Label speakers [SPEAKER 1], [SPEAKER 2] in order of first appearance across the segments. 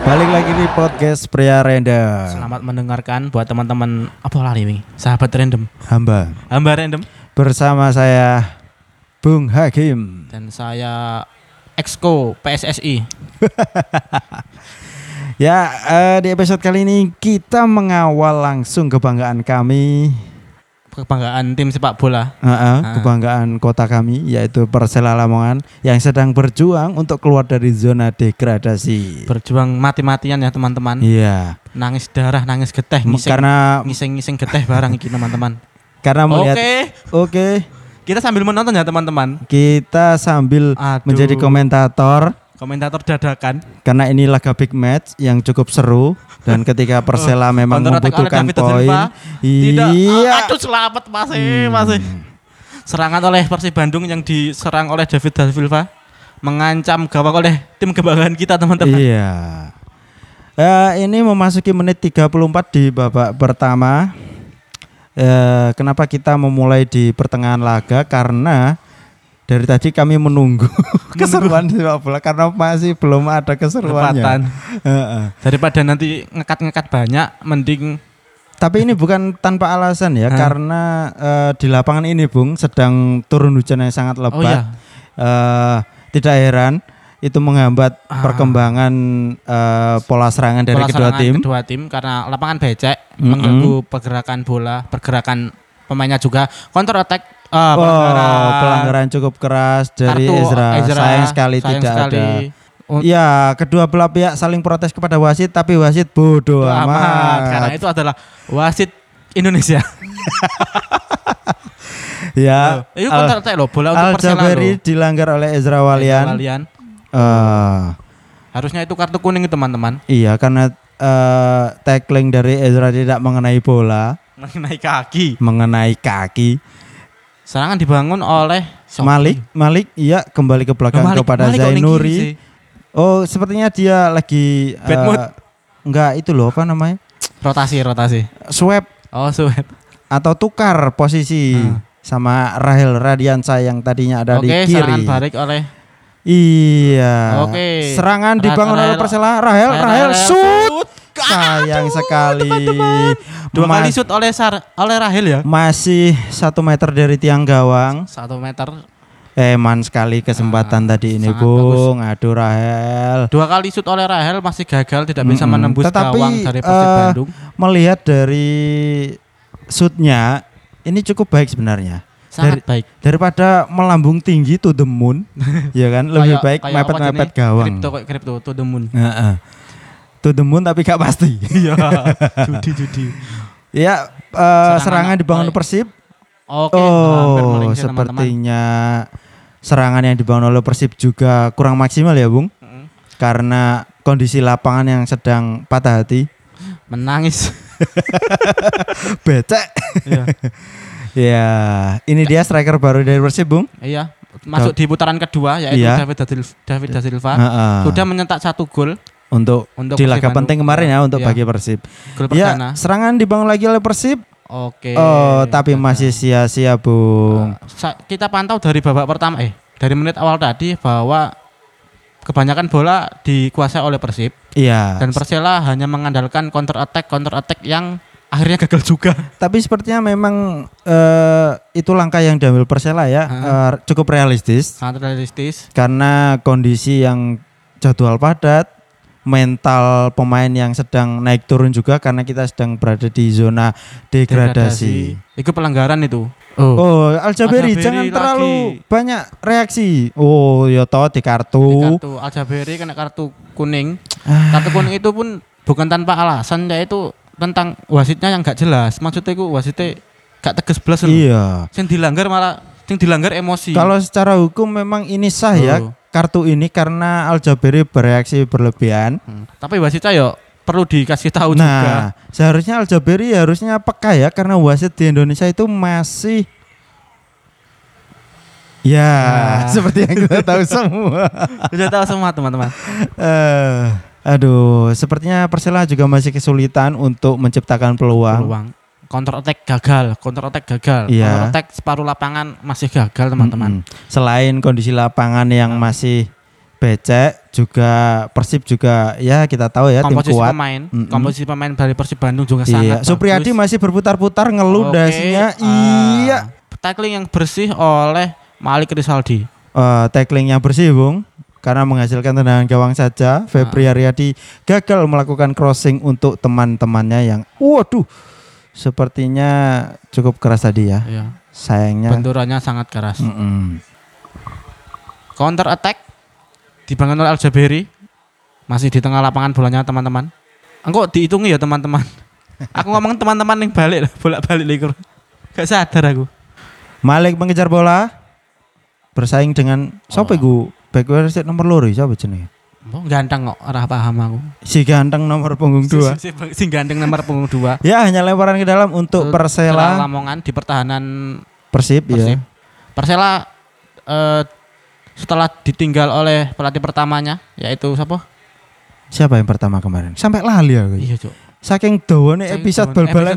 [SPEAKER 1] di podcast pria random
[SPEAKER 2] Selamat mendengarkan buat teman-teman apa lari ini? Sahabat random,
[SPEAKER 1] hamba
[SPEAKER 2] hamba random
[SPEAKER 1] bersama saya Bung Hakim
[SPEAKER 2] dan saya Exco PSSI.
[SPEAKER 1] ya eh, di episode kali ini kita mengawal langsung kebanggaan kami
[SPEAKER 2] Kebanggaan tim sepak bola.
[SPEAKER 1] eh, eh, kebanggaan kota kami yaitu Persela Lamongan yang sedang berjuang untuk keluar dari zona degradasi
[SPEAKER 2] Berjuang mati-matian ya teman-teman.
[SPEAKER 1] Iya
[SPEAKER 2] Nangis darah, nangis geteh,
[SPEAKER 1] m-
[SPEAKER 2] ngising
[SPEAKER 1] karena
[SPEAKER 2] ngising-ngising geteh barang iki teman-teman.
[SPEAKER 1] karena
[SPEAKER 2] Oke,
[SPEAKER 1] melihat oke
[SPEAKER 2] kita sambil menonton ya teman-teman.
[SPEAKER 1] kita sambil
[SPEAKER 2] Aduh,
[SPEAKER 1] menjadi komentator
[SPEAKER 2] komentator dadakan.
[SPEAKER 1] karena ini laga big match yang cukup seru dan ketika Persela memang
[SPEAKER 2] counter attack oleh
[SPEAKER 1] membutuhkan
[SPEAKER 2] Oh, David Silva.
[SPEAKER 1] poin.
[SPEAKER 2] Tidak, Ah,
[SPEAKER 1] Iya. Hmm.
[SPEAKER 2] aduh selamat masih, masih. E. Serangan oleh Persib Bandung yang diserang oleh David da Silva mengancam gawang oleh tim kebanggaan kita teman-teman.
[SPEAKER 1] Iya. Eh, ini memasuki menit 34 di babak pertama. Eh, kenapa kita memulai di pertengahan laga? Karena dari tadi kami menunggu keseruan sepak bola karena masih belum ada keseruannya.
[SPEAKER 2] Kesempatan.
[SPEAKER 1] Heeh.
[SPEAKER 2] Daripada nanti ngekat-ngekat banyak mending
[SPEAKER 1] Tapi ini bukan tanpa alasan ya,
[SPEAKER 2] Hah?
[SPEAKER 1] karena eh, di lapangan ini, Bung, sedang turun hujan yang sangat lebat.
[SPEAKER 2] Oh iya.
[SPEAKER 1] Eh, tidak heran itu menghambat
[SPEAKER 2] Ah.
[SPEAKER 1] perkembangan eh, pola serangan dari
[SPEAKER 2] pola
[SPEAKER 1] kedua
[SPEAKER 2] serangan
[SPEAKER 1] tim.
[SPEAKER 2] kedua tim karena lapangan becek
[SPEAKER 1] Mm-mm.
[SPEAKER 2] mengganggu pergerakan bola, pergerakan pemainnya juga counter attack eh,
[SPEAKER 1] Oh, pelanggaran cukup keras dari
[SPEAKER 2] kartu
[SPEAKER 1] Ezra.
[SPEAKER 2] Ezra,
[SPEAKER 1] Sayang sekali
[SPEAKER 2] sayang
[SPEAKER 1] tidak
[SPEAKER 2] sekali.
[SPEAKER 1] ada.
[SPEAKER 2] Oh,
[SPEAKER 1] Ya, kedua belah pihak saling protes kepada wasit, tapi wasit bodoh
[SPEAKER 2] amat. Karena
[SPEAKER 1] Iya, amat.
[SPEAKER 2] itu adalah wasit Indonesia.
[SPEAKER 1] Ya,
[SPEAKER 2] Loh, itu
[SPEAKER 1] Al,
[SPEAKER 2] counter attack loh, bola
[SPEAKER 1] Al
[SPEAKER 2] untuk Persela
[SPEAKER 1] Jabari
[SPEAKER 2] loh.
[SPEAKER 1] dilanggar oleh Ezra Walian.
[SPEAKER 2] Kalian.
[SPEAKER 1] Eh,
[SPEAKER 2] Harusnya itu kartu kuning teman-teman
[SPEAKER 1] Iya karena eh, tackling dari Ezra tidak mengenai bola,
[SPEAKER 2] mengenai kaki.
[SPEAKER 1] mengenai kaki.
[SPEAKER 2] Serangan dibangun oleh Sofi.
[SPEAKER 1] Malik, Malik, iya kembali ke
[SPEAKER 2] Loh,
[SPEAKER 1] belakang
[SPEAKER 2] Malik-
[SPEAKER 1] kepada
[SPEAKER 2] Malik kok ning kiri
[SPEAKER 1] Zainuri.
[SPEAKER 2] sih?
[SPEAKER 1] Oh sepertinya dia lagi
[SPEAKER 2] Bad
[SPEAKER 1] eh,
[SPEAKER 2] mood.
[SPEAKER 1] Enggak itu loh apa namanya?
[SPEAKER 2] Rotasi, rotasi.
[SPEAKER 1] Swap
[SPEAKER 2] Oh, suet.
[SPEAKER 1] atau tukar posisi
[SPEAKER 2] Hmm.
[SPEAKER 1] sama Rahel Radiansa yang tadinya ada
[SPEAKER 2] Oke,
[SPEAKER 1] di
[SPEAKER 2] serangan
[SPEAKER 1] kiri.
[SPEAKER 2] balik oleh
[SPEAKER 1] Iya.
[SPEAKER 2] Oke.
[SPEAKER 1] Serangan
[SPEAKER 2] Ra-
[SPEAKER 1] dibangun oleh
[SPEAKER 2] Rahel-
[SPEAKER 1] Persela. Rahel,
[SPEAKER 2] Rahel-
[SPEAKER 1] Rahel,
[SPEAKER 2] Rahel,
[SPEAKER 1] shoot.
[SPEAKER 2] shoot.
[SPEAKER 1] Sayang sekali.
[SPEAKER 2] dua
[SPEAKER 1] Mas-
[SPEAKER 2] kali shoot oleh Sar oleh Rahel ya.
[SPEAKER 1] masih satu meter dari tiang gawang.
[SPEAKER 2] Satu meter.
[SPEAKER 1] Eman sekali kesempatan tadi ini
[SPEAKER 2] Ah, sangat
[SPEAKER 1] Bung. Aduh Rahel.
[SPEAKER 2] Dua kali shoot oleh Rahel masih gagal tidak bisa
[SPEAKER 1] Mm-mm.
[SPEAKER 2] menembus
[SPEAKER 1] Tetapi,
[SPEAKER 2] gawang dari Persib
[SPEAKER 1] eh,
[SPEAKER 2] Bandung.
[SPEAKER 1] Melihat dari shootnya ini cukup baik sebenarnya.
[SPEAKER 2] Sangat baik.
[SPEAKER 1] Daripada melambung tinggi to the moon, ya kan lebih
[SPEAKER 2] Kayak-
[SPEAKER 1] baik
[SPEAKER 2] kayak
[SPEAKER 1] mepet-mepet
[SPEAKER 2] apa jenis?
[SPEAKER 1] gawang.
[SPEAKER 2] Kripto kok kripto to the moon.
[SPEAKER 1] Heeh. To the moon tapi gak pasti.
[SPEAKER 2] Iya. judi judi.
[SPEAKER 1] ya eh,
[SPEAKER 2] Serangan
[SPEAKER 1] serangan dibangun
[SPEAKER 2] baik.
[SPEAKER 1] Persib.
[SPEAKER 2] Oke, hampir
[SPEAKER 1] Oh,
[SPEAKER 2] melenceng, teman-teman.
[SPEAKER 1] sepertinya serangan yang dibangun oleh Persib juga kurang maksimal ya, Bung.
[SPEAKER 2] Mm-mm.
[SPEAKER 1] karena kondisi lapangan yang sedang patah hati
[SPEAKER 2] Menangis.
[SPEAKER 1] becek
[SPEAKER 2] Iya.
[SPEAKER 1] ya ini dia striker baru dari Persib Bung
[SPEAKER 2] Iya, masuk di putaran kedua yaitu
[SPEAKER 1] Iya.
[SPEAKER 2] David da Sil- David da Silva
[SPEAKER 1] Heeh.
[SPEAKER 2] sudah mencetak satu gol
[SPEAKER 1] untuk
[SPEAKER 2] untuk
[SPEAKER 1] di laga
[SPEAKER 2] Persib
[SPEAKER 1] penting
[SPEAKER 2] Bandung.
[SPEAKER 1] kemarin ya untuk
[SPEAKER 2] Iya,
[SPEAKER 1] bagi Persib
[SPEAKER 2] gol perdana.
[SPEAKER 1] ya serangan dibangun lagi oleh Persib
[SPEAKER 2] Oke.
[SPEAKER 1] oh tapi
[SPEAKER 2] Nah,
[SPEAKER 1] masih sia-sia
[SPEAKER 2] eh,
[SPEAKER 1] Bung
[SPEAKER 2] sa- kita pantau dari babak pertama eh dari menit awal tadi bahwa kebanyakan bola dikuasai oleh Persib
[SPEAKER 1] iya
[SPEAKER 2] dan Persela hanya mengandalkan counter attack counter attack yang akhirnya gagal juga.
[SPEAKER 1] tapi sepertinya memang eh, itu langkah yang diambil Persela ya
[SPEAKER 2] Heeh.
[SPEAKER 1] eh, cukup realistis
[SPEAKER 2] Sangat realistis.
[SPEAKER 1] karena kondisi yang jadwal padat mental pemain yang sedang naik turun juga karena kita sedang berada di zona degradasi.
[SPEAKER 2] Degradasi. Itu pelanggaran itu. Oh.
[SPEAKER 1] Oh, Aljaberi
[SPEAKER 2] Aljaberi
[SPEAKER 1] jangan
[SPEAKER 2] lagi.
[SPEAKER 1] terlalu banyak reaksi. Oh, ya toh di kartu.
[SPEAKER 2] Kartu Al Jaberi kena kartu kuning.
[SPEAKER 1] Ah.
[SPEAKER 2] Kartu kuning itu pun bukan tanpa alasan yaitu tentang wasitnya yang gak jelas. Maksudnya itu wasitnya gak tegas belas loh.
[SPEAKER 1] Iya.
[SPEAKER 2] Sing dilanggar malah sing dilanggar emosi.
[SPEAKER 1] Kalau secara hukum memang ini sah ya
[SPEAKER 2] Oh.
[SPEAKER 1] kartu ini karena Aljaberi bereaksi berlebihan.
[SPEAKER 2] Hmm. Tapi wasitnya yo perlu dikasih tahu juga.
[SPEAKER 1] nah, seharusnya Aljaberi harusnya peka ya karena wasit di Indonesia itu masih Ya,
[SPEAKER 2] Nah.
[SPEAKER 1] seperti yang kita tahu semua.
[SPEAKER 2] Sudah tahu semua teman-teman.
[SPEAKER 1] Eh, aduh, sepertinya Persela juga masih kesulitan untuk menciptakan peluang.
[SPEAKER 2] Peluang counter attack gagal, counter attack gagal.
[SPEAKER 1] Iya.
[SPEAKER 2] Counter attack
[SPEAKER 1] Hmm,
[SPEAKER 2] separuh lapangan masih gagal teman-teman.
[SPEAKER 1] Mm-mm. Selain kondisi lapangan yang masih becek juga Persib juga ya kita tahu ya tim
[SPEAKER 2] komposisi
[SPEAKER 1] kuat.
[SPEAKER 2] pemain,
[SPEAKER 1] Mm-mm.
[SPEAKER 2] komposisi pemain dari Persib Bandung juga
[SPEAKER 1] Iya,
[SPEAKER 2] sangat
[SPEAKER 1] Supriyadi
[SPEAKER 2] bagus.
[SPEAKER 1] masih berputar-putar ngeluh
[SPEAKER 2] Oke,
[SPEAKER 1] dasinya.
[SPEAKER 2] ah,
[SPEAKER 1] Iya.
[SPEAKER 2] Tackling yang bersih oleh Malik Rizaldi.
[SPEAKER 1] Eh, tackling yang bersih, Bung. Karena menghasilkan tendangan gawang
[SPEAKER 2] Ah.
[SPEAKER 1] saja, Febri Aryadi gagal melakukan crossing untuk teman-temannya yang waduh sepertinya cukup keras tadi ya. Hmm.
[SPEAKER 2] Iya.
[SPEAKER 1] Sayangnya.
[SPEAKER 2] Benturannya sangat keras.
[SPEAKER 1] Mm-mm.
[SPEAKER 2] Counter attack dibangun oleh Aljaberi. Masih di tengah lapangan bolanya teman-teman. Engkau dihitungi ya teman-teman. Aku ngomong teman-teman yang balik bolak-balik likur. Gak sadar aku.
[SPEAKER 1] Malik mengejar bola bersaing dengan siapa
[SPEAKER 2] Oh.
[SPEAKER 1] iku? Back wasit nomor loro siapa jenenge?
[SPEAKER 2] Mbok ganteng kok, ora paham aku.
[SPEAKER 1] Si ganteng nomor punggung
[SPEAKER 2] Si,
[SPEAKER 1] dua.
[SPEAKER 2] si, si ganteng nomor punggung dua.
[SPEAKER 1] Ya hanya lemparan ke dalam untuk
[SPEAKER 2] Untuk Celah
[SPEAKER 1] Persela
[SPEAKER 2] Lamongan di pertahanan
[SPEAKER 1] Persib, ya.
[SPEAKER 2] Persib. Persela eh, setelah ditinggal oleh pelatih pertamanya yaitu siapa?
[SPEAKER 1] Siapa yang pertama kemarin? Sampai lali aku.
[SPEAKER 2] Iya, Cuk.
[SPEAKER 1] Saking dawane
[SPEAKER 2] Saya
[SPEAKER 1] episode
[SPEAKER 2] cuman-
[SPEAKER 1] bal-balan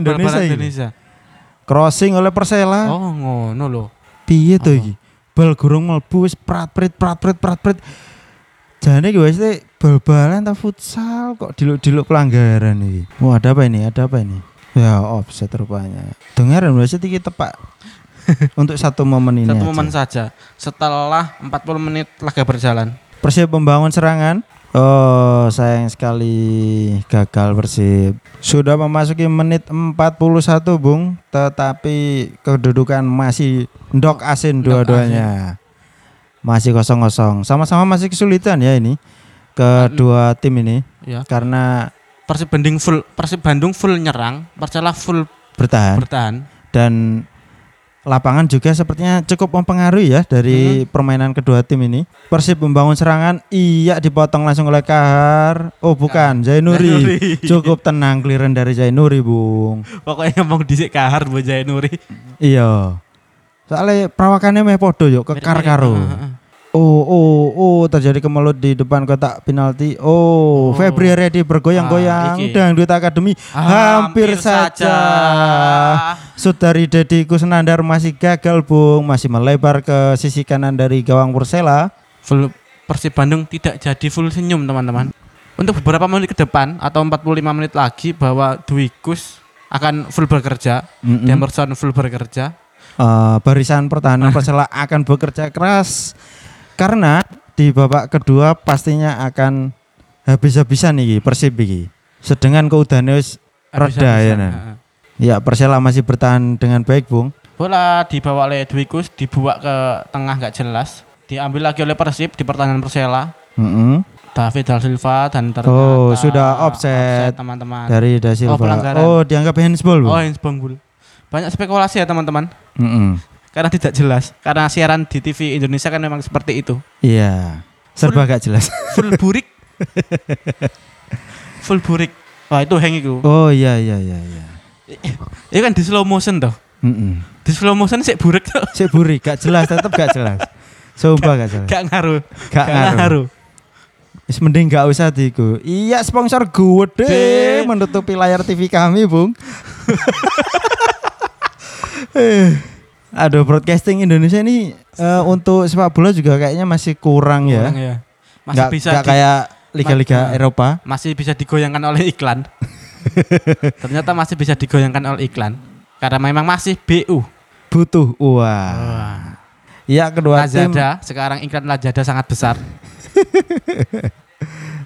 [SPEAKER 1] Indonesia
[SPEAKER 2] episode bal-balan
[SPEAKER 1] ini. Crossing oleh Persela.
[SPEAKER 2] Oh, ngono loh.
[SPEAKER 1] Piye to
[SPEAKER 2] Apa?
[SPEAKER 1] iki? Bal gurung mlebu wis prat-prit prat-prit prat-prit. Jane iki wis te bal-balan ta futsal kok diluk-diluk pelanggaran iki. Wah, ada apa ini? Ada apa ini? Ya, offset rupanya. Dengar wasit iki tepak. Untuk satu momen ini.
[SPEAKER 2] Satu
[SPEAKER 1] aja.
[SPEAKER 2] momen saja. Setelah 40 menit laga berjalan.
[SPEAKER 1] Persib membangun serangan. Oh, sayang sekali gagal Persib. Sudah memasuki menit 41, Bung, tetapi kedudukan masih ndok asin
[SPEAKER 2] Ndok
[SPEAKER 1] dua-duanya. Masih kosong-kosong. Sama-sama masih kesulitan ya ini kedua tim ini
[SPEAKER 2] Ya.
[SPEAKER 1] karena
[SPEAKER 2] Persib Bandung full Persib Bandung full nyerang, Persela full
[SPEAKER 1] bertahan
[SPEAKER 2] bertahan.
[SPEAKER 1] dan lapangan juga sepertinya cukup mempengaruhi ya dari permainan kedua tim ini. Persib membangun serangan, iya dipotong langsung oleh Kahar. Oh, bukan, Zainuri. Cukup tenang clearan dari Zainuri, Bung.
[SPEAKER 2] Pokoknya ngomong dhisik kahar Bu Nuri.
[SPEAKER 1] Iya. Soalnya perawakannya meh podo yuk kekar karo. Oh, oh, oh terjadi kemelut di depan kotak penalti. Oh,
[SPEAKER 2] Oh.
[SPEAKER 1] Febri Redi
[SPEAKER 2] Ah,
[SPEAKER 1] bergoyang-goyang
[SPEAKER 2] iki.
[SPEAKER 1] dangdut akademi hampir, saja. Sud dari Deddy Kusnandar masih gagal Bung Masih melebar ke sisi kanan dari gawang Persela
[SPEAKER 2] Full Persib Bandung tidak jadi full senyum, teman-teman. Untuk beberapa menit ke depan atau 45 menit lagi bahwa Dwi Kus akan full bekerja,
[SPEAKER 1] Mm-mm.
[SPEAKER 2] Demerson full bekerja.
[SPEAKER 1] Eh, Barisan
[SPEAKER 2] Ah.
[SPEAKER 1] pertahanan Persela akan bekerja keras Karena di babak kedua pastinya akan habis-habisan nih Persib iki. Sedangkan keudahannya wis- Reda, ya,
[SPEAKER 2] Habis-habisan. ah.
[SPEAKER 1] nah. Ya Persela masih bertahan dengan baik Bung
[SPEAKER 2] Bola dibawa oleh Dwikus, dibuat ke tengah nggak jelas. Diambil lagi oleh Persib di pertahanan Persela.
[SPEAKER 1] Mm-mm.
[SPEAKER 2] David Da Silva dan ternyata
[SPEAKER 1] Oh, eh, sudah offset.
[SPEAKER 2] teman-teman.
[SPEAKER 1] Dari Da Silva.
[SPEAKER 2] pelanggaran.
[SPEAKER 1] Oh, dianggap handsball Bung
[SPEAKER 2] Oh, handsball goal. Banyak spekulasi ya teman-teman
[SPEAKER 1] Mm-mm.
[SPEAKER 2] karena tidak jelas. Karena siaran di TV Indonesia kan memang seperti itu.
[SPEAKER 1] Iya Serba gak jelas
[SPEAKER 2] Full burik. Full burik. Wah, itu hang itu.
[SPEAKER 1] Oh iya iya iya iya
[SPEAKER 2] Itu kan di slow motion toh.
[SPEAKER 1] Mm-mm.
[SPEAKER 2] Di slow motion sih burik tuh.
[SPEAKER 1] Sik buri, gak jelas, tetep gak jelas. Sumpah gak jelas.
[SPEAKER 2] Gak ngaruh.
[SPEAKER 1] Eh. Gak ngaruh.
[SPEAKER 2] ngaruh.
[SPEAKER 1] Wis mending gak usah diku. Iya, sponsor gede
[SPEAKER 2] Deh.
[SPEAKER 1] menutupi layar TV kami, Bung. Eh, Aduh, broadcasting Indonesia ini eh, untuk sepak bola juga kayaknya masih kurang,
[SPEAKER 2] Kurang
[SPEAKER 1] ya.
[SPEAKER 2] ya. Masih
[SPEAKER 1] Gak,
[SPEAKER 2] bisa
[SPEAKER 1] gak
[SPEAKER 2] di-
[SPEAKER 1] kayak liga-liga
[SPEAKER 2] Ma-
[SPEAKER 1] Eropa.
[SPEAKER 2] masih bisa digoyangkan oleh iklan. Ternyata masih bisa digoyangkan oleh iklan karena memang masih BU.
[SPEAKER 1] Butuh uang. Iya, kedua tim
[SPEAKER 2] Ah. Lazada sekarang iklan Lazada sangat besar.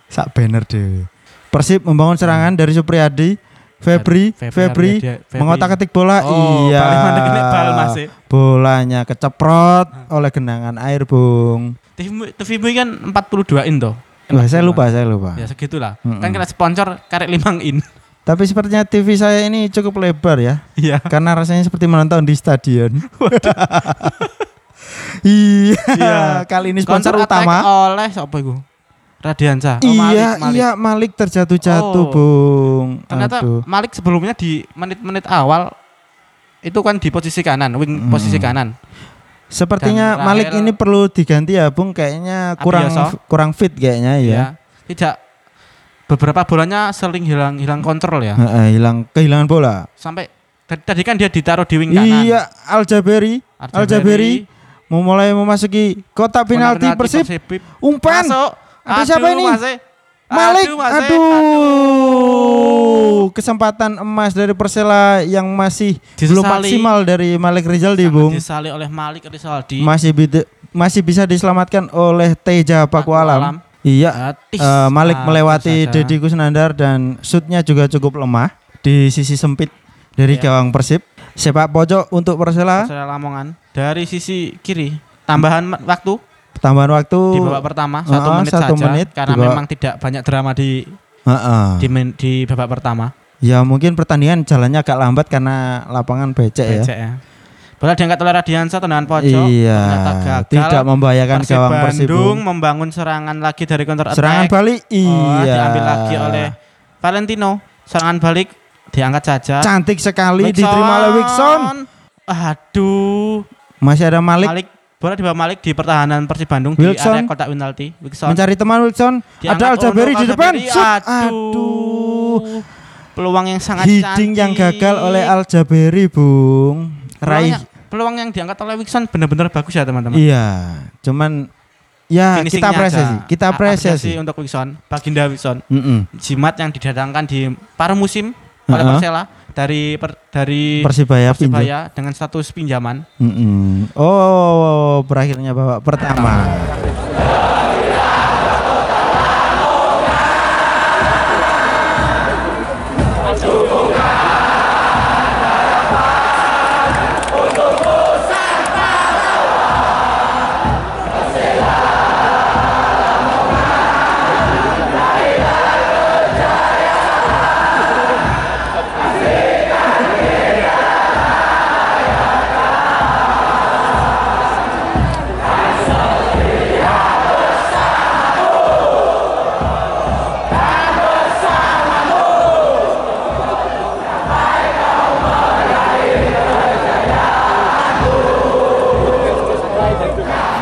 [SPEAKER 1] sak banner deh. Persib membangun serangan dari Supriyadi, Febri,
[SPEAKER 2] Hmm. Febri
[SPEAKER 1] Febri,
[SPEAKER 2] Ardiadi- Febri.
[SPEAKER 1] mengotak-atik bola.
[SPEAKER 2] Oh,
[SPEAKER 1] iya.
[SPEAKER 2] balik mana kena bal ya? Hmm. masih.
[SPEAKER 1] Bolanya keceprot oleh genangan air, Bung.
[SPEAKER 2] TV TVmu kan 42 in toh.
[SPEAKER 1] Wah, saya lupa, saya lupa.
[SPEAKER 2] Ya segitulah.
[SPEAKER 1] Mm-mm.
[SPEAKER 2] Kan kena sponsor karek limang in.
[SPEAKER 1] Tapi sepertinya TV saya ini cukup lebar ya,
[SPEAKER 2] Iya.
[SPEAKER 1] karena rasanya seperti menonton di stadion. iya,
[SPEAKER 2] Iya.
[SPEAKER 1] kali ini sponsor
[SPEAKER 2] Counter attack
[SPEAKER 1] utama.
[SPEAKER 2] oleh siapa iku? Radiansa. Oh,
[SPEAKER 1] iya,
[SPEAKER 2] Malik, Malik.
[SPEAKER 1] iya, Malik terjatuh-jatuh,
[SPEAKER 2] Oh.
[SPEAKER 1] Bung.
[SPEAKER 2] Ternyata
[SPEAKER 1] Aduh.
[SPEAKER 2] Malik sebelumnya di menit-menit awal itu kan di posisi kanan, wing posisi
[SPEAKER 1] Mm.
[SPEAKER 2] kanan.
[SPEAKER 1] Sepertinya
[SPEAKER 2] Dan
[SPEAKER 1] Malik
[SPEAKER 2] Rahel-
[SPEAKER 1] ini perlu diganti ya, Bung. Kayaknya kurang
[SPEAKER 2] Abioso.
[SPEAKER 1] kurang fit kayaknya ya.
[SPEAKER 2] ya. Tidak beberapa bolanya sering hilang hilang kontrol ya.
[SPEAKER 1] Heeh, hilang kehilangan bola.
[SPEAKER 2] Sampai tadi, tadi kan dia ditaruh di wing kanan.
[SPEAKER 1] Iya, Aljaberi. Aljaberi memulai memasuki kotak penalti
[SPEAKER 2] Penalti
[SPEAKER 1] Persib.
[SPEAKER 2] Persib.
[SPEAKER 1] Umpan.
[SPEAKER 2] Masuk.
[SPEAKER 1] Ada siapa
[SPEAKER 2] Aduh,
[SPEAKER 1] ini?
[SPEAKER 2] Masih.
[SPEAKER 1] Malik.
[SPEAKER 2] Aduh,
[SPEAKER 1] Aduh,
[SPEAKER 2] Masih.
[SPEAKER 1] Kesempatan emas dari Persela yang masih belum
[SPEAKER 2] Disesali.
[SPEAKER 1] maksimal dari Malik Rizaldi,
[SPEAKER 2] Sangat
[SPEAKER 1] Bung.
[SPEAKER 2] Disali oleh Malik Rizaldi.
[SPEAKER 1] Masih bide- masih bisa diselamatkan oleh Teja
[SPEAKER 2] Pakualam. Nah,
[SPEAKER 1] Pakualam. Iya.
[SPEAKER 2] Gratis.
[SPEAKER 1] eh, Malik
[SPEAKER 2] Gratis
[SPEAKER 1] melewati
[SPEAKER 2] Ah, saja.
[SPEAKER 1] Deddy Kusnandar dan shootnya juga cukup lemah di sisi sempit dari
[SPEAKER 2] Iya.
[SPEAKER 1] gawang Persib. Sepak pojok untuk Persela.
[SPEAKER 2] Saudara Lamongan dari sisi kiri tambahan ma- waktu
[SPEAKER 1] Tambahan waktu.
[SPEAKER 2] di babak pertama satu
[SPEAKER 1] ah,
[SPEAKER 2] menit
[SPEAKER 1] satu
[SPEAKER 2] saja
[SPEAKER 1] menit
[SPEAKER 2] karena
[SPEAKER 1] di babak-
[SPEAKER 2] memang tidak banyak drama di
[SPEAKER 1] Heeh.
[SPEAKER 2] di, men- di babak pertama
[SPEAKER 1] Ya mungkin pertandingan jalannya agak lambat karena lapangan becek ya.
[SPEAKER 2] Becek ya. Bola diangkat oleh Radiansa tendangan pojok
[SPEAKER 1] Iya.
[SPEAKER 2] ternyata gagal.
[SPEAKER 1] Tidak membahayakan
[SPEAKER 2] Persib
[SPEAKER 1] gawang Persib.
[SPEAKER 2] Bandung
[SPEAKER 1] Bung.
[SPEAKER 2] membangun serangan lagi dari counter attack
[SPEAKER 1] Serangan balik
[SPEAKER 2] Oh,
[SPEAKER 1] iya.
[SPEAKER 2] diambil lagi oleh Valentino serangan balik diangkat saja
[SPEAKER 1] Cantik sekali
[SPEAKER 2] Wilson.
[SPEAKER 1] diterima oleh Wilson.
[SPEAKER 2] aduh
[SPEAKER 1] Masih ada
[SPEAKER 2] Malik.
[SPEAKER 1] Malik,
[SPEAKER 2] bola di bawah Malik di pertahanan Persib Bandung di
[SPEAKER 1] Wilson.
[SPEAKER 2] area kotak penalti Wilson
[SPEAKER 1] mencari teman Wilson.
[SPEAKER 2] Diangkat
[SPEAKER 1] ada Al Jaberi
[SPEAKER 2] untuk
[SPEAKER 1] di depan.
[SPEAKER 2] Al-Jaberi.
[SPEAKER 1] Shoot.
[SPEAKER 2] Aduh.
[SPEAKER 1] Aduh.
[SPEAKER 2] Peluang yang sangat
[SPEAKER 1] Heading yang
[SPEAKER 2] cantik. ya?
[SPEAKER 1] gagal oleh Al Jaberi, Bung. Raih.
[SPEAKER 2] Peluangnya- Peluang yang diangkat oleh Wilson benar-benar bagus ya teman-teman.
[SPEAKER 1] Iya. Cuman ya kita
[SPEAKER 2] Finishingnya
[SPEAKER 1] apresiasi.
[SPEAKER 2] aja.
[SPEAKER 1] Kita
[SPEAKER 2] A-
[SPEAKER 1] apresiasi.
[SPEAKER 2] apresiasi untuk Wilson, Baginda Wilson.
[SPEAKER 1] Mm-mm.
[SPEAKER 2] Jimat yang didatangkan di paruh musim oleh
[SPEAKER 1] Uh-uh.
[SPEAKER 2] Persela dari per- dari
[SPEAKER 1] Persibaya pinjam.
[SPEAKER 2] Persibaya dengan status pinjaman.
[SPEAKER 1] Mm-mm. Oh, berakhirnya babak pertama.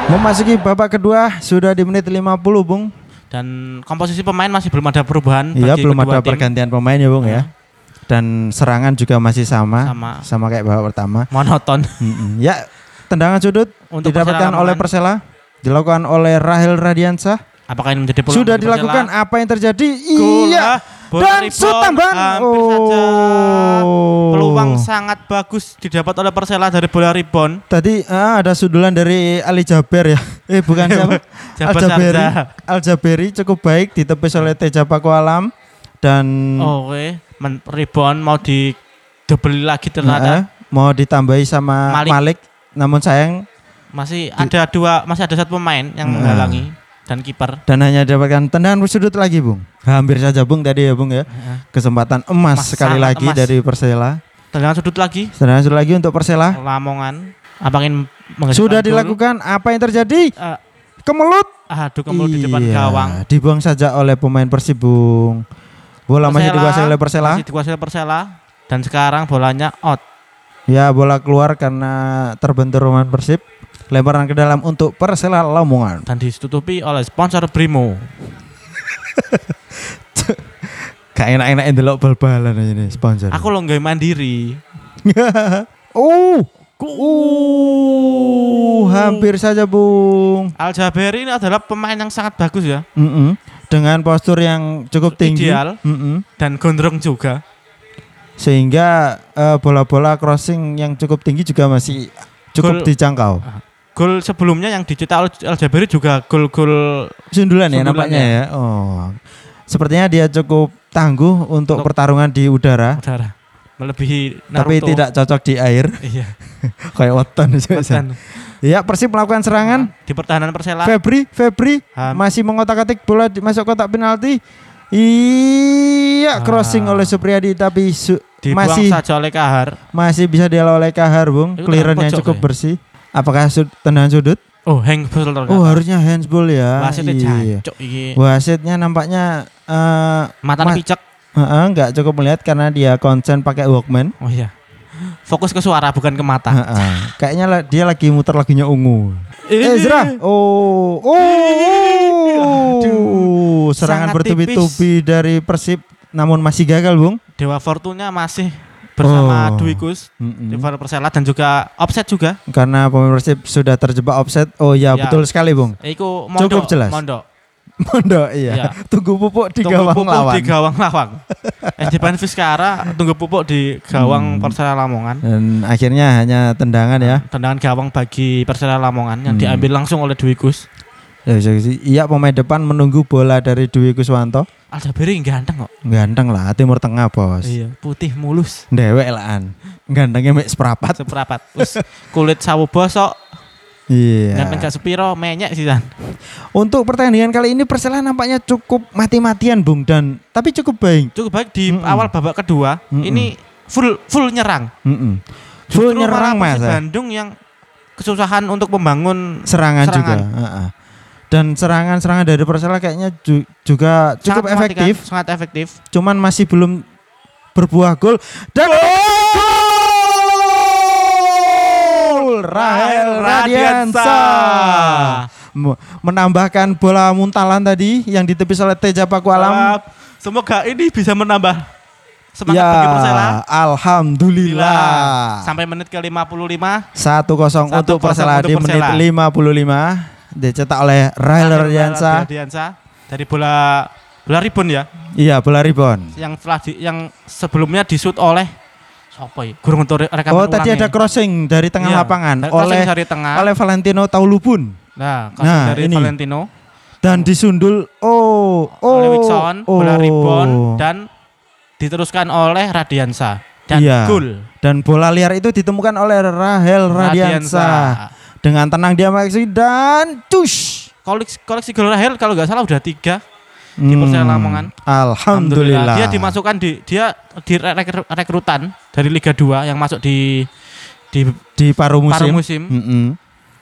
[SPEAKER 1] Memasuki babak kedua sudah di menit 50, Bung.
[SPEAKER 2] Dan komposisi pemain masih belum ada perubahan
[SPEAKER 1] Iya,
[SPEAKER 2] bagi
[SPEAKER 1] belum ada
[SPEAKER 2] kedua tim. Iya.
[SPEAKER 1] pergantian pemain ya, Bung ya. Dan serangan juga masih sama,
[SPEAKER 2] Sama.
[SPEAKER 1] sama, kayak babak pertama.
[SPEAKER 2] Monoton.
[SPEAKER 1] Mm-mm. Ya, tendangan sudut
[SPEAKER 2] Untuk
[SPEAKER 1] didapatkan
[SPEAKER 2] Persela
[SPEAKER 1] oleh
[SPEAKER 2] Lamongan.
[SPEAKER 1] Persela, dilakukan oleh Rahel Radiansyah.
[SPEAKER 2] Apakah ini menjadi peluang
[SPEAKER 1] Sudah
[SPEAKER 2] bagi Persela?
[SPEAKER 1] dilakukan apa yang terjadi?
[SPEAKER 2] Gol
[SPEAKER 1] iya.
[SPEAKER 2] lah. Bola
[SPEAKER 1] Dan
[SPEAKER 2] rebound.
[SPEAKER 1] shoot tambahan.
[SPEAKER 2] Hampir saja.
[SPEAKER 1] Oh.
[SPEAKER 2] Peluang sangat bagus didapat oleh Persela dari bola rebound.
[SPEAKER 1] Tadi ah, ada sundulan dari Ali Jaber ya. Eh bukan siapa?
[SPEAKER 2] Jabar
[SPEAKER 1] Al Jaberi.
[SPEAKER 2] Sarja.
[SPEAKER 1] Al Jaberi cukup baik ditepis oleh Teja Pakualam dan
[SPEAKER 2] Oke, men rebound mau di double lagi ternyata
[SPEAKER 1] eh, mau ditambahi sama
[SPEAKER 2] Malik.
[SPEAKER 1] Malik. Namun sayang
[SPEAKER 2] masih ada dua, masih ada satu pemain yang
[SPEAKER 1] Nah.
[SPEAKER 2] menghalangi dan kiper.
[SPEAKER 1] dan hanya dapatkan tendangan sudut lagi, Bung. Hampir saja Bung tadi ya, Bung ya. Kesempatan emas
[SPEAKER 2] Emas,
[SPEAKER 1] sekali
[SPEAKER 2] sangat
[SPEAKER 1] lagi
[SPEAKER 2] emas.
[SPEAKER 1] dari Persela.
[SPEAKER 2] Tendangan sudut lagi
[SPEAKER 1] Tendangan sudut lagi untuk
[SPEAKER 2] Oh.
[SPEAKER 1] Persela.
[SPEAKER 2] Lamongan. Apakah ini menghasilkan
[SPEAKER 1] Sudah
[SPEAKER 2] gol?
[SPEAKER 1] dilakukan apa yang terjadi?
[SPEAKER 2] Eh,
[SPEAKER 1] Kemelut.
[SPEAKER 2] aduh kemudian
[SPEAKER 1] Iya,
[SPEAKER 2] di depan gawang.
[SPEAKER 1] Dibuang saja oleh pemain Persib, Bung. Bola masih
[SPEAKER 2] Persela,
[SPEAKER 1] dikuasai oleh Persela.
[SPEAKER 2] Masih dikuasai oleh Persela dan sekarang bolanya out.
[SPEAKER 1] Ya bola keluar karena terbentur Roman Persib. Lemparan ke dalam untuk Persela Lamongan.
[SPEAKER 2] dan ditutupi oleh sponsor Brimo.
[SPEAKER 1] Gak enak-enak ndelok bal-balan aja nih sponsor.
[SPEAKER 2] Aku lo nggak mandiri.
[SPEAKER 1] oh, uh, hampir saja Bung.
[SPEAKER 2] Al Jaberi ini adalah pemain yang sangat bagus ya
[SPEAKER 1] Mm-mm. Dengan postur yang cukup tinggi.
[SPEAKER 2] Ideal.
[SPEAKER 1] Mm-mm.
[SPEAKER 2] dan gondrong juga.
[SPEAKER 1] Sehingga eh, bola-bola crossing yang cukup tinggi juga masih cukup
[SPEAKER 2] Gol.
[SPEAKER 1] dijangkau.
[SPEAKER 2] Ah. Gol sebelumnya yang dicetak oleh Al Jaberi juga gol-gol
[SPEAKER 1] Sundulan ya
[SPEAKER 2] Sundulan
[SPEAKER 1] nampaknya ya. Oh. Sepertinya dia cukup tangguh untuk
[SPEAKER 2] Untuk-
[SPEAKER 1] pertarungan di udara,
[SPEAKER 2] udara melebihi Naruto.
[SPEAKER 1] tapi tidak cocok di air.
[SPEAKER 2] Iya.
[SPEAKER 1] kayak weton
[SPEAKER 2] Dan
[SPEAKER 1] Ya Persib melakukan serangan.
[SPEAKER 2] di pertahanan Persela
[SPEAKER 1] Febri, Febri
[SPEAKER 2] Ah, Ham.
[SPEAKER 1] masih mengotak-atik bola di- masuk kotak penalti. Iya,
[SPEAKER 2] Ah.
[SPEAKER 1] crossing oleh Supriyadi tapi su-
[SPEAKER 2] dibuang
[SPEAKER 1] masih
[SPEAKER 2] saja oleh Kahar.
[SPEAKER 1] masih bisa dialah oleh Kahar, Bung.
[SPEAKER 2] Itu
[SPEAKER 1] Clearance yang
[SPEAKER 2] pojok
[SPEAKER 1] cukup
[SPEAKER 2] ya?
[SPEAKER 1] bersih. Apakah sud tendangan sudut?
[SPEAKER 2] Oh, hang betul
[SPEAKER 1] Oh, harusnya handsball ya.
[SPEAKER 2] Wasitnya jancuk iki.
[SPEAKER 1] Wasitnya nampaknya eh
[SPEAKER 2] Mata
[SPEAKER 1] Mas-
[SPEAKER 2] picek.
[SPEAKER 1] eh, nggak cukup melihat karena dia konsen pakai Walkman.
[SPEAKER 2] Oh iya. Fokus ke suara bukan ke mata.
[SPEAKER 1] Heeh. Kayaknya la- dia lagi muter lagunya ungu. Ezra. Oh, oh,
[SPEAKER 2] Aduh.
[SPEAKER 1] oh. serangan
[SPEAKER 2] Sangat tipis.
[SPEAKER 1] bertubi-tubi dari Persib, namun masih gagal, Bung.
[SPEAKER 2] Dewa Fortuna masih bersama
[SPEAKER 1] Oh.
[SPEAKER 2] Dwi Kus,
[SPEAKER 1] Mm-mm.
[SPEAKER 2] River Persela dan juga Offset juga.
[SPEAKER 1] Karena pemain Persib sudah terjebak offset. Oh ya,
[SPEAKER 2] Ya.
[SPEAKER 1] betul sekali, Bung.
[SPEAKER 2] Iku
[SPEAKER 1] Cukup
[SPEAKER 2] mondok,
[SPEAKER 1] jelas.
[SPEAKER 2] Mondok.
[SPEAKER 1] Mondok iya.
[SPEAKER 2] Iya.
[SPEAKER 1] Tunggu pupuk di
[SPEAKER 2] Tunggu
[SPEAKER 1] gawang
[SPEAKER 2] pupuk
[SPEAKER 1] lawan.
[SPEAKER 2] Di Gawang Lawang. SD Fiskara tunggu pupuk di Gawang
[SPEAKER 1] Hmm.
[SPEAKER 2] Persela Lamongan.
[SPEAKER 1] Dan akhirnya hanya tendangan ya.
[SPEAKER 2] Tendangan gawang bagi Persela Lamongan yang
[SPEAKER 1] Hmm.
[SPEAKER 2] diambil langsung oleh Dwi Kus.
[SPEAKER 1] Ya, bisa sih. Iya, pemain depan menunggu bola dari Dwi Kuswanto.
[SPEAKER 2] Aljabiri ganteng kok.
[SPEAKER 1] Ganteng lah, Timur Tengah, Bos.
[SPEAKER 2] Iya, putih mulus.
[SPEAKER 1] Dewek laan. Gantengnya mek seprapat.
[SPEAKER 2] Seperapat. Terus kulit sawo bosok, ganteng
[SPEAKER 1] Iya.
[SPEAKER 2] gak sepiro, menyek sih San.
[SPEAKER 1] Untuk pertandingan kali ini Persela nampaknya cukup mati-matian, Bung, dan tapi cukup baik.
[SPEAKER 2] Cukup baik di
[SPEAKER 1] Mm-mm.
[SPEAKER 2] awal babak kedua.
[SPEAKER 1] Mm-mm.
[SPEAKER 2] Ini full full nyerang.
[SPEAKER 1] Mm-mm. Hmm. Full
[SPEAKER 2] Justru
[SPEAKER 1] nyerang
[SPEAKER 2] malah
[SPEAKER 1] mas.
[SPEAKER 2] Persib
[SPEAKER 1] ya.
[SPEAKER 2] Bandung yang kesusahan untuk membangun
[SPEAKER 1] Serangan, juga.
[SPEAKER 2] Serangan.
[SPEAKER 1] Heeh. Dan serangan-serangan dari Persela kayaknya ju- juga cukup
[SPEAKER 2] sangat mematikan,
[SPEAKER 1] efektif,
[SPEAKER 2] sangat efektif.
[SPEAKER 1] cuman masih belum berbuah gol. Dan gol! Rahel Radiansa Me- menambahkan bola muntalan tadi yang ditepis oleh Teja Paku Alam.
[SPEAKER 2] Wah, Semoga ini bisa menambah semangat
[SPEAKER 1] ya,
[SPEAKER 2] bagi Persela.
[SPEAKER 1] alhamdulillah.
[SPEAKER 2] Sampai menit ke-55
[SPEAKER 1] 1-0 untuk
[SPEAKER 2] 1-0
[SPEAKER 1] Persela
[SPEAKER 2] untuk
[SPEAKER 1] di menit
[SPEAKER 2] Persela.
[SPEAKER 1] 55 dicetak oleh Rahel Radiansa.
[SPEAKER 2] Radiansa dari bola bola ribon ya
[SPEAKER 1] Iya, bola rebound.
[SPEAKER 2] yang telah di, yang sebelumnya disut oleh Sopo ya? Gurung untuk rekaman
[SPEAKER 1] Oh tadi ada
[SPEAKER 2] ulangnya.
[SPEAKER 1] crossing dari tengah
[SPEAKER 2] Iya,
[SPEAKER 1] lapangan
[SPEAKER 2] dari
[SPEAKER 1] oleh
[SPEAKER 2] crossing dari tengah.
[SPEAKER 1] oleh Valentino Taulubun
[SPEAKER 2] nah, crossing
[SPEAKER 1] Nah,
[SPEAKER 2] dari
[SPEAKER 1] ini.
[SPEAKER 2] Valentino
[SPEAKER 1] dan disundul oh oh
[SPEAKER 2] oleh Wilson,
[SPEAKER 1] oh,
[SPEAKER 2] bola rebound dan diteruskan oleh Radiansa dan
[SPEAKER 1] Iya.
[SPEAKER 2] gol
[SPEAKER 1] dan bola liar itu ditemukan oleh Rahel Radiansa dengan tenang dia mengeksekusi dan cus
[SPEAKER 2] Koleksi, koleksi gol Rahel kalau nggak salah udah tiga.
[SPEAKER 1] di
[SPEAKER 2] Persela Lamongan.
[SPEAKER 1] Hmm, Alhamdulillah.
[SPEAKER 2] Dia dimasukkan di dia di rekr- rekrutan dari Liga 2 yang masuk di di
[SPEAKER 1] di paruh musim.
[SPEAKER 2] paruh musim.
[SPEAKER 1] Mm-mm.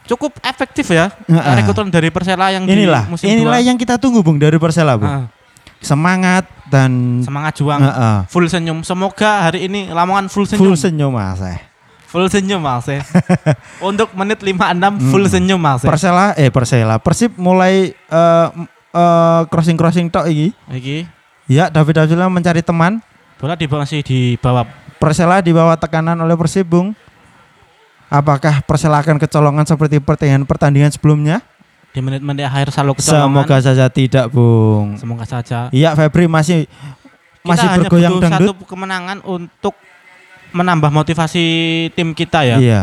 [SPEAKER 2] Cukup efektif ya
[SPEAKER 1] Heeh.
[SPEAKER 2] rekrutan dari Persela yang
[SPEAKER 1] Inilah,
[SPEAKER 2] di musim
[SPEAKER 1] inilah
[SPEAKER 2] dua.
[SPEAKER 1] yang kita tunggu Bung dari Persela Bung.
[SPEAKER 2] Ah,
[SPEAKER 1] Semangat dan
[SPEAKER 2] semangat juang.
[SPEAKER 1] Heeh.
[SPEAKER 2] Full senyum. Semoga hari ini Lamongan full senyum.
[SPEAKER 1] full senyum Mas. eh.
[SPEAKER 2] Full senyum Mas. ya. Untuk menit
[SPEAKER 1] Hmm.
[SPEAKER 2] 56 full senyum Mas. ya.
[SPEAKER 1] Persela eh Persela Persib mulai eh, crossing crossing tok iki.
[SPEAKER 2] Iki
[SPEAKER 1] Ya David Abdullah mencari teman.
[SPEAKER 2] bola di bawah sih di bawah.
[SPEAKER 1] Persela di bawah tekanan oleh Persib Bung. Apakah Persela akan kecolongan seperti pertandingan pertandingan sebelumnya?
[SPEAKER 2] di menit-menit akhir selalu
[SPEAKER 1] Semoga
[SPEAKER 2] kecolongan.
[SPEAKER 1] saja tidak Bung.
[SPEAKER 2] Semoga saja
[SPEAKER 1] Iya Febri masih masih
[SPEAKER 2] kita hanya
[SPEAKER 1] bergoyang
[SPEAKER 2] butuh
[SPEAKER 1] dangdut.
[SPEAKER 2] satu kemenangan untuk menambah motivasi tim kita ya.
[SPEAKER 1] Iya.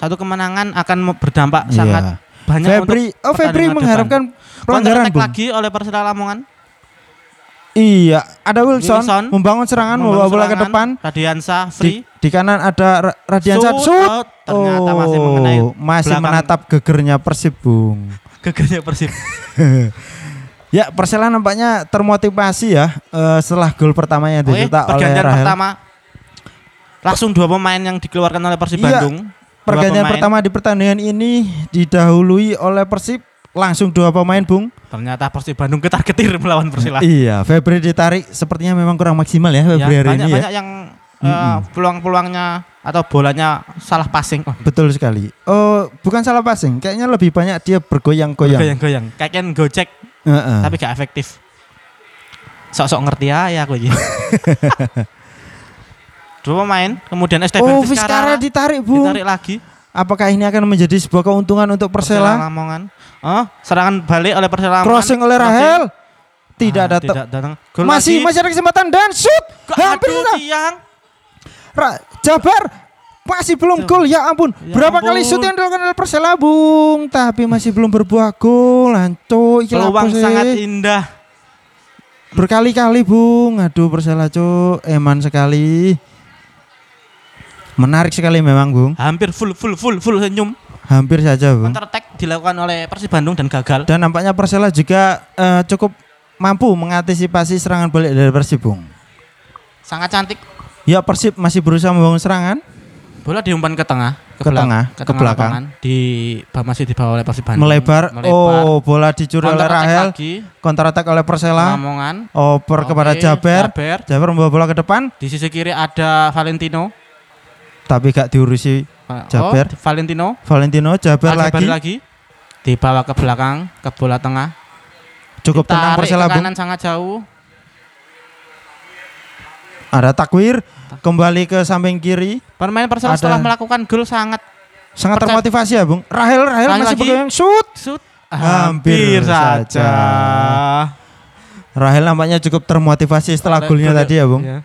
[SPEAKER 2] Satu kemenangan akan me- berdampak
[SPEAKER 1] Iya.
[SPEAKER 2] sangat banyak
[SPEAKER 1] Febri oh Febri
[SPEAKER 2] pertandingan
[SPEAKER 1] mengharapkan
[SPEAKER 2] untuk
[SPEAKER 1] pelanggaran
[SPEAKER 2] Counter attack
[SPEAKER 1] Bung.
[SPEAKER 2] lagi oleh Persela Lamongan.
[SPEAKER 1] Iya, ada Wilson,
[SPEAKER 2] Wilson
[SPEAKER 1] membangun serangan membawa bola ke
[SPEAKER 2] Serangan,
[SPEAKER 1] depan.
[SPEAKER 2] Radiansa
[SPEAKER 1] Di,
[SPEAKER 2] free.
[SPEAKER 1] di kanan ada Ra- Radiansa.
[SPEAKER 2] Shoot
[SPEAKER 1] Shoot. Oh.
[SPEAKER 2] out. oh, ternyata masih mengenai
[SPEAKER 1] masih
[SPEAKER 2] belakang.
[SPEAKER 1] menatap gegernya Persib, Bung.
[SPEAKER 2] gegernya Persib.
[SPEAKER 1] Ya, Persela nampaknya termotivasi ya eh, setelah gol pertamanya
[SPEAKER 2] Oke,
[SPEAKER 1] dicetak oleh
[SPEAKER 2] Oh iya, pergantian
[SPEAKER 1] Rahel.
[SPEAKER 2] pertama langsung dua pemain yang dikeluarkan oleh Persib
[SPEAKER 1] Iya,
[SPEAKER 2] Bandung. Dua
[SPEAKER 1] Pergantian
[SPEAKER 2] pemain.
[SPEAKER 1] pertama di pertandingan ini didahului oleh Persib langsung dua pemain, Bung.
[SPEAKER 2] Ternyata Persib Bandung ketar-ketir melawan Persela.
[SPEAKER 1] Iya, Febri ditarik sepertinya memang kurang maksimal ya Febri
[SPEAKER 2] ya,
[SPEAKER 1] hari
[SPEAKER 2] banyak
[SPEAKER 1] ini ya.
[SPEAKER 2] banyak yang eh,
[SPEAKER 1] Mm-mm.
[SPEAKER 2] peluang-peluangnya atau bolanya salah passing. Oh,
[SPEAKER 1] Betul sekali. Oh, bukan salah passing, kayaknya lebih banyak dia bergoyang-goyang.
[SPEAKER 2] goyang-goyang. Kayak kan gojek
[SPEAKER 1] Heeh.
[SPEAKER 2] tapi gak efektif. Sok-sok ngerti aja aku iki. Dua pemain, kemudian
[SPEAKER 1] Oh,
[SPEAKER 2] Esteban
[SPEAKER 1] Vizcara
[SPEAKER 2] Vizcara
[SPEAKER 1] ditarik, Bung.
[SPEAKER 2] ditarik lagi.
[SPEAKER 1] Apakah ini akan menjadi sebuah keuntungan untuk Persela?
[SPEAKER 2] Lamongan. Oh, serangan balik oleh Persela Lamongan.
[SPEAKER 1] Crossing oleh
[SPEAKER 2] Crossing.
[SPEAKER 1] Rahel.
[SPEAKER 2] Ah,
[SPEAKER 1] Tidak ada te-
[SPEAKER 2] tidak datang. Gol
[SPEAKER 1] masih
[SPEAKER 2] lagi.
[SPEAKER 1] masih ada kesempatan dan shoot.
[SPEAKER 2] Kok
[SPEAKER 1] Hampir
[SPEAKER 2] aduh,
[SPEAKER 1] lah.
[SPEAKER 2] tiang.
[SPEAKER 1] Ra- Jabar masih belum
[SPEAKER 2] Tuh.
[SPEAKER 1] gol ya ampun.
[SPEAKER 2] Ya
[SPEAKER 1] Berapa
[SPEAKER 2] ampun.
[SPEAKER 1] kali shoot yang dilakukan oleh Persela Bung, tapi masih belum berbuah gol. Lanco iki lapo
[SPEAKER 2] Peluang
[SPEAKER 1] sih?
[SPEAKER 2] sangat indah.
[SPEAKER 1] berkali-kali Bung. Aduh Persela Cuk, eman sekali. Menarik sekali memang Bung.
[SPEAKER 2] Hampir full full full full
[SPEAKER 1] Hmm.
[SPEAKER 2] senyum.
[SPEAKER 1] Hampir saja Bung.
[SPEAKER 2] Counter attack dilakukan oleh Persib Bandung dan gagal.
[SPEAKER 1] Dan nampaknya Persela juga eh, cukup mampu mengantisipasi serangan balik dari Persib Bung.
[SPEAKER 2] Sangat cantik.
[SPEAKER 1] Ya Persib masih berusaha membangun serangan.
[SPEAKER 2] Bola diumpan ke tengah,
[SPEAKER 1] Ke tengah,
[SPEAKER 2] ke,
[SPEAKER 1] ke belakang.
[SPEAKER 2] lapangan. di bah- masih di bawah oleh Persib Bandung.
[SPEAKER 1] melebar. Oh, bola dicuri oleh
[SPEAKER 2] counter attack
[SPEAKER 1] Rahel.
[SPEAKER 2] lagi.
[SPEAKER 1] Counter attack oleh Persela.
[SPEAKER 2] Lamongan.
[SPEAKER 1] Oper
[SPEAKER 2] Oke,
[SPEAKER 1] kepada Jaber.
[SPEAKER 2] Jaber.
[SPEAKER 1] Jaber membawa bola ke depan
[SPEAKER 2] Di sisi kiri ada Valentino.
[SPEAKER 1] tapi gak diurusi Jaber.
[SPEAKER 2] Oh, Valentino.
[SPEAKER 1] Valentino. Jaber
[SPEAKER 2] Ah,
[SPEAKER 1] lagi.
[SPEAKER 2] Jaber lagi. Dibawa ke belakang, ke bola tengah.
[SPEAKER 1] Cukup tenang
[SPEAKER 2] Tarik ke
[SPEAKER 1] Persela Bung.
[SPEAKER 2] kanan sangat jauh.
[SPEAKER 1] Ada takwir kembali ke samping kiri.
[SPEAKER 2] Permain Persela
[SPEAKER 1] Ada-
[SPEAKER 2] setelah melakukan gol sangat
[SPEAKER 1] Sangat
[SPEAKER 2] Percaya-
[SPEAKER 1] termotivasi ya, Bung. Rahel Rahel
[SPEAKER 2] Sekali
[SPEAKER 1] masih
[SPEAKER 2] lagi.
[SPEAKER 1] pegang shoot.
[SPEAKER 2] sud
[SPEAKER 1] Hampir saja. Rahel nampaknya cukup termotivasi setelah golnya
[SPEAKER 2] Betul,
[SPEAKER 1] tadi ya, Bung.
[SPEAKER 2] ya.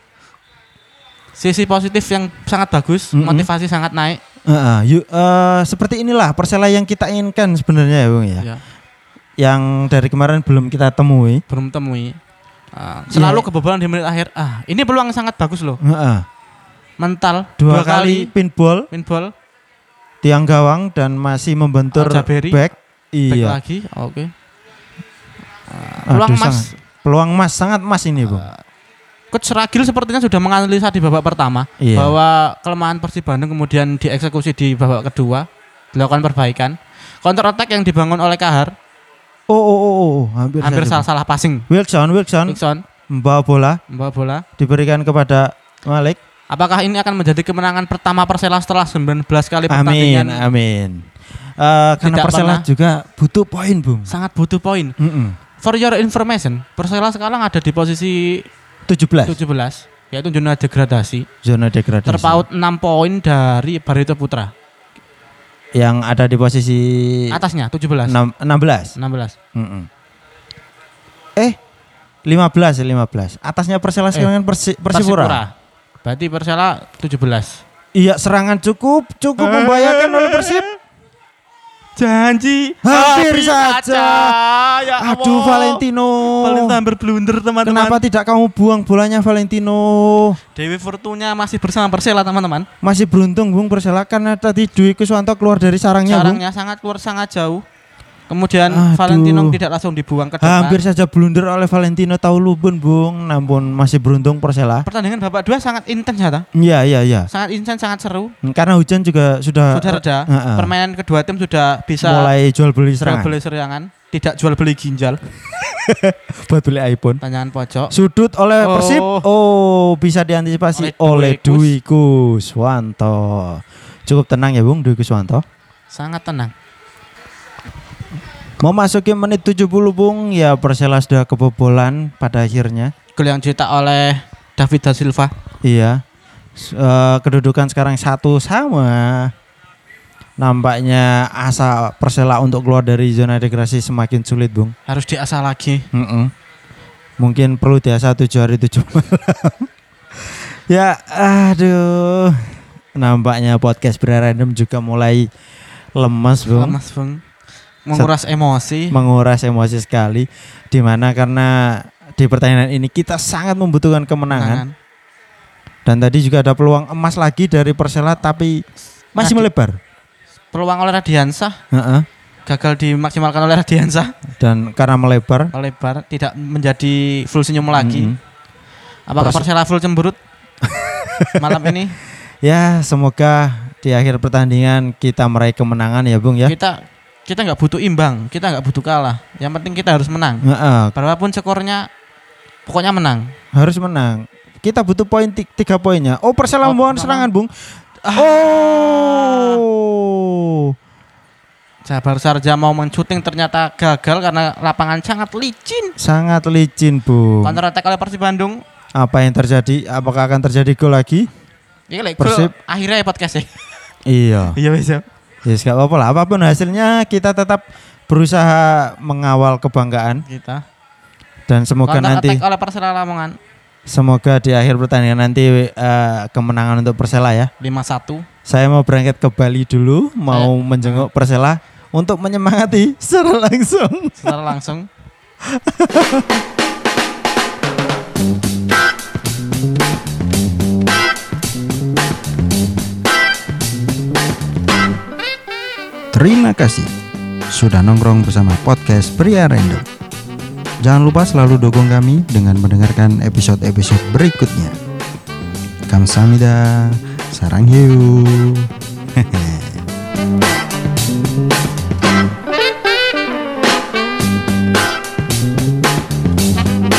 [SPEAKER 2] Sisi positif yang sangat bagus,
[SPEAKER 1] Mm-mm.
[SPEAKER 2] motivasi sangat naik.
[SPEAKER 1] Heeh, yu- eh, seperti inilah Persela yang kita inginkan sebenarnya ya, Bung ya.
[SPEAKER 2] Ya.
[SPEAKER 1] Yang dari kemarin belum kita temui.
[SPEAKER 2] Belum temui. Ah,
[SPEAKER 1] Iya.
[SPEAKER 2] selalu kebobolan di menit akhir. Ah, ini peluang sangat bagus loh.
[SPEAKER 1] Heeh.
[SPEAKER 2] Mental
[SPEAKER 1] Dua, kali, pinball
[SPEAKER 2] pinball
[SPEAKER 1] tiang gawang dan masih membentur
[SPEAKER 2] Aljaberi.
[SPEAKER 1] back.
[SPEAKER 2] back
[SPEAKER 1] Iya.
[SPEAKER 2] lagi. Oke. Ah,
[SPEAKER 1] Aduh,
[SPEAKER 2] peluang
[SPEAKER 1] sangat.
[SPEAKER 2] Mas
[SPEAKER 1] Peluang emas sangat emas ini, Bung.
[SPEAKER 2] Coach Ragil sepertinya sudah menganalisa di babak pertama
[SPEAKER 1] Iya.
[SPEAKER 2] bahwa kelemahan Persib Bandung kemudian dieksekusi di babak kedua, dilakukan perbaikan. Counter attack yang dibangun oleh Kahar
[SPEAKER 1] Oh, oh, oh, oh, oh, hampir,
[SPEAKER 2] hampir
[SPEAKER 1] saja,
[SPEAKER 2] salah salah passing.
[SPEAKER 1] Bung. Wilson, Wilson
[SPEAKER 2] Nixon
[SPEAKER 1] membawa bola
[SPEAKER 2] membawa bola.
[SPEAKER 1] diberikan kepada Malik.
[SPEAKER 2] Apakah ini akan menjadi kemenangan pertama Persela setelah 19 kali
[SPEAKER 1] Amin,
[SPEAKER 2] pertandingan?
[SPEAKER 1] amin. Eh, karena
[SPEAKER 2] Tidak
[SPEAKER 1] Persela
[SPEAKER 2] pernah.
[SPEAKER 1] juga butuh poin, Bung.
[SPEAKER 2] Sangat butuh poin.
[SPEAKER 1] Mm-mm.
[SPEAKER 2] For your information, Persela sekarang ada di posisi
[SPEAKER 1] 17
[SPEAKER 2] 17 yaitu zona degradasi,
[SPEAKER 1] zona degradasi.
[SPEAKER 2] terpaut 6 poin dari Barito Putra.
[SPEAKER 1] yang ada di posisi
[SPEAKER 2] Atasnya 17, 16.
[SPEAKER 1] Iya. enam- 16. Mm-mm. Eh, 15 ya, 15. Atasnya Persela
[SPEAKER 2] Eh,
[SPEAKER 1] serangan Persi- Persipura.
[SPEAKER 2] Berarti Persela 17.
[SPEAKER 1] Iya, serangan cukup cukup
[SPEAKER 2] Eh.
[SPEAKER 1] membahayakan oleh Persib.
[SPEAKER 2] Janji
[SPEAKER 1] Hampir saja.
[SPEAKER 2] Ya
[SPEAKER 1] Aduh,
[SPEAKER 2] Allah.
[SPEAKER 1] Valentino.
[SPEAKER 2] Valentino hampir blunder teman-teman.
[SPEAKER 1] Kenapa tidak kamu buang bolanya Valentino?
[SPEAKER 2] Dewi Fortunya masih bersama Persela teman-teman.
[SPEAKER 1] Masih beruntung Bung Persela karena tadi Dwi Kuswanto keluar dari sarangnya Bung.
[SPEAKER 2] Sarangnya sangat luar sangat jauh. Kemudian
[SPEAKER 1] Aduh.
[SPEAKER 2] Valentino tidak langsung dibuang ke depan.
[SPEAKER 1] Hampir saja blunder oleh Valentino Taulubun Bung, namun masih beruntung Persela.
[SPEAKER 2] Pertandingan babak dua sangat intens ya, Ta.
[SPEAKER 1] Iya, iya, iya.
[SPEAKER 2] sangat intens, sangat seru.
[SPEAKER 1] Karena hujan juga sudah,
[SPEAKER 2] Sudah reda.
[SPEAKER 1] Heeh.
[SPEAKER 2] Permainan kedua tim sudah bisa
[SPEAKER 1] eh, mulai jual beli
[SPEAKER 2] jual
[SPEAKER 1] serangan
[SPEAKER 2] beli serangan, tidak jual beli ginjal.
[SPEAKER 1] buat beli iPhone.
[SPEAKER 2] Pertanyaan pojok.
[SPEAKER 1] Sudut oleh
[SPEAKER 2] Oh.
[SPEAKER 1] Persib. Oh, bisa diantisipasi
[SPEAKER 2] Oleh
[SPEAKER 1] oleh Dwi
[SPEAKER 2] Dwi
[SPEAKER 1] Kuswanto. Cukup tenang ya Bung Dwi Kuswanto.
[SPEAKER 2] Sangat tenang.
[SPEAKER 1] Mau masukin menit 70 Bung, ya Persela sudah kebobolan pada akhirnya.
[SPEAKER 2] Gol yang dicetak oleh David da Silva.
[SPEAKER 1] Iya. S- eh, kedudukan sekarang satu sama. Nampaknya asa Persela untuk keluar dari zona degradasi semakin sulit, Bung.
[SPEAKER 2] Harus diasah lagi.
[SPEAKER 1] Mm-mm. Mungkin perlu diasah tujuh hari tujuh malam. ya, aduh. Nampaknya podcast berandom juga mulai lemas, Bung.
[SPEAKER 2] Lemas, Bung. Menguras emosi.
[SPEAKER 1] menguras emosi sekali dimana karena di pertandingan ini kita sangat membutuhkan kemenangan
[SPEAKER 2] Tangan.
[SPEAKER 1] dan tadi juga ada peluang emas lagi dari Persela tapi masih
[SPEAKER 2] Radi-
[SPEAKER 1] melebar
[SPEAKER 2] Peluang oleh Radiansah
[SPEAKER 1] Heeh.
[SPEAKER 2] gagal dimaksimalkan oleh Radiansah.
[SPEAKER 1] dan karena melebar
[SPEAKER 2] Lebar tidak menjadi full senyum lagi.
[SPEAKER 1] mm,
[SPEAKER 2] Apakah
[SPEAKER 1] Pers-
[SPEAKER 2] Persela full cemberut malam ini?
[SPEAKER 1] ya semoga di akhir pertandingan kita meraih kemenangan ya Bung ya
[SPEAKER 2] Kita kita nggak butuh imbang, kita nggak butuh kalah. Yang penting kita harus menang.
[SPEAKER 1] Heeh,
[SPEAKER 2] Berapapun skornya, pokoknya menang.
[SPEAKER 1] harus menang kita butuh poin ti- tiga poinnya oh Persela
[SPEAKER 2] Oh,
[SPEAKER 1] membawa
[SPEAKER 2] tenang.
[SPEAKER 1] serangan Bung oh
[SPEAKER 2] Jabar Sarja mau mencuting ternyata gagal karena lapangan sangat licin.
[SPEAKER 1] sangat licin Bung
[SPEAKER 2] Counter attack oleh Persib Bandung.
[SPEAKER 1] apa yang terjadi apakah akan terjadi gol lagi
[SPEAKER 2] Ini like
[SPEAKER 1] Persib.
[SPEAKER 2] gol Iya, akhirnya ya podcast ya.
[SPEAKER 1] Iya.
[SPEAKER 2] Iya bisa.
[SPEAKER 1] Ya yes, apa-apa lah. Apapun hasilnya kita tetap berusaha mengawal kebanggaan
[SPEAKER 2] Kita.
[SPEAKER 1] dan semoga
[SPEAKER 2] Counter
[SPEAKER 1] nanti
[SPEAKER 2] attack oleh Persela Lamongan
[SPEAKER 1] semoga di akhir pertandingan nanti eh, kemenangan untuk Persela ya.
[SPEAKER 2] 5-1.
[SPEAKER 1] Saya mau berangkat ke Bali dulu, mau menjenguk Persela untuk menyemangati secara langsung.
[SPEAKER 2] secara langsung.
[SPEAKER 1] Terima kasih sudah nongkrong bersama podcast Pria Random. Jangan lupa selalu dukung kami dengan mendengarkan episode-episode berikutnya. Kamsahamnida, sarang hiu.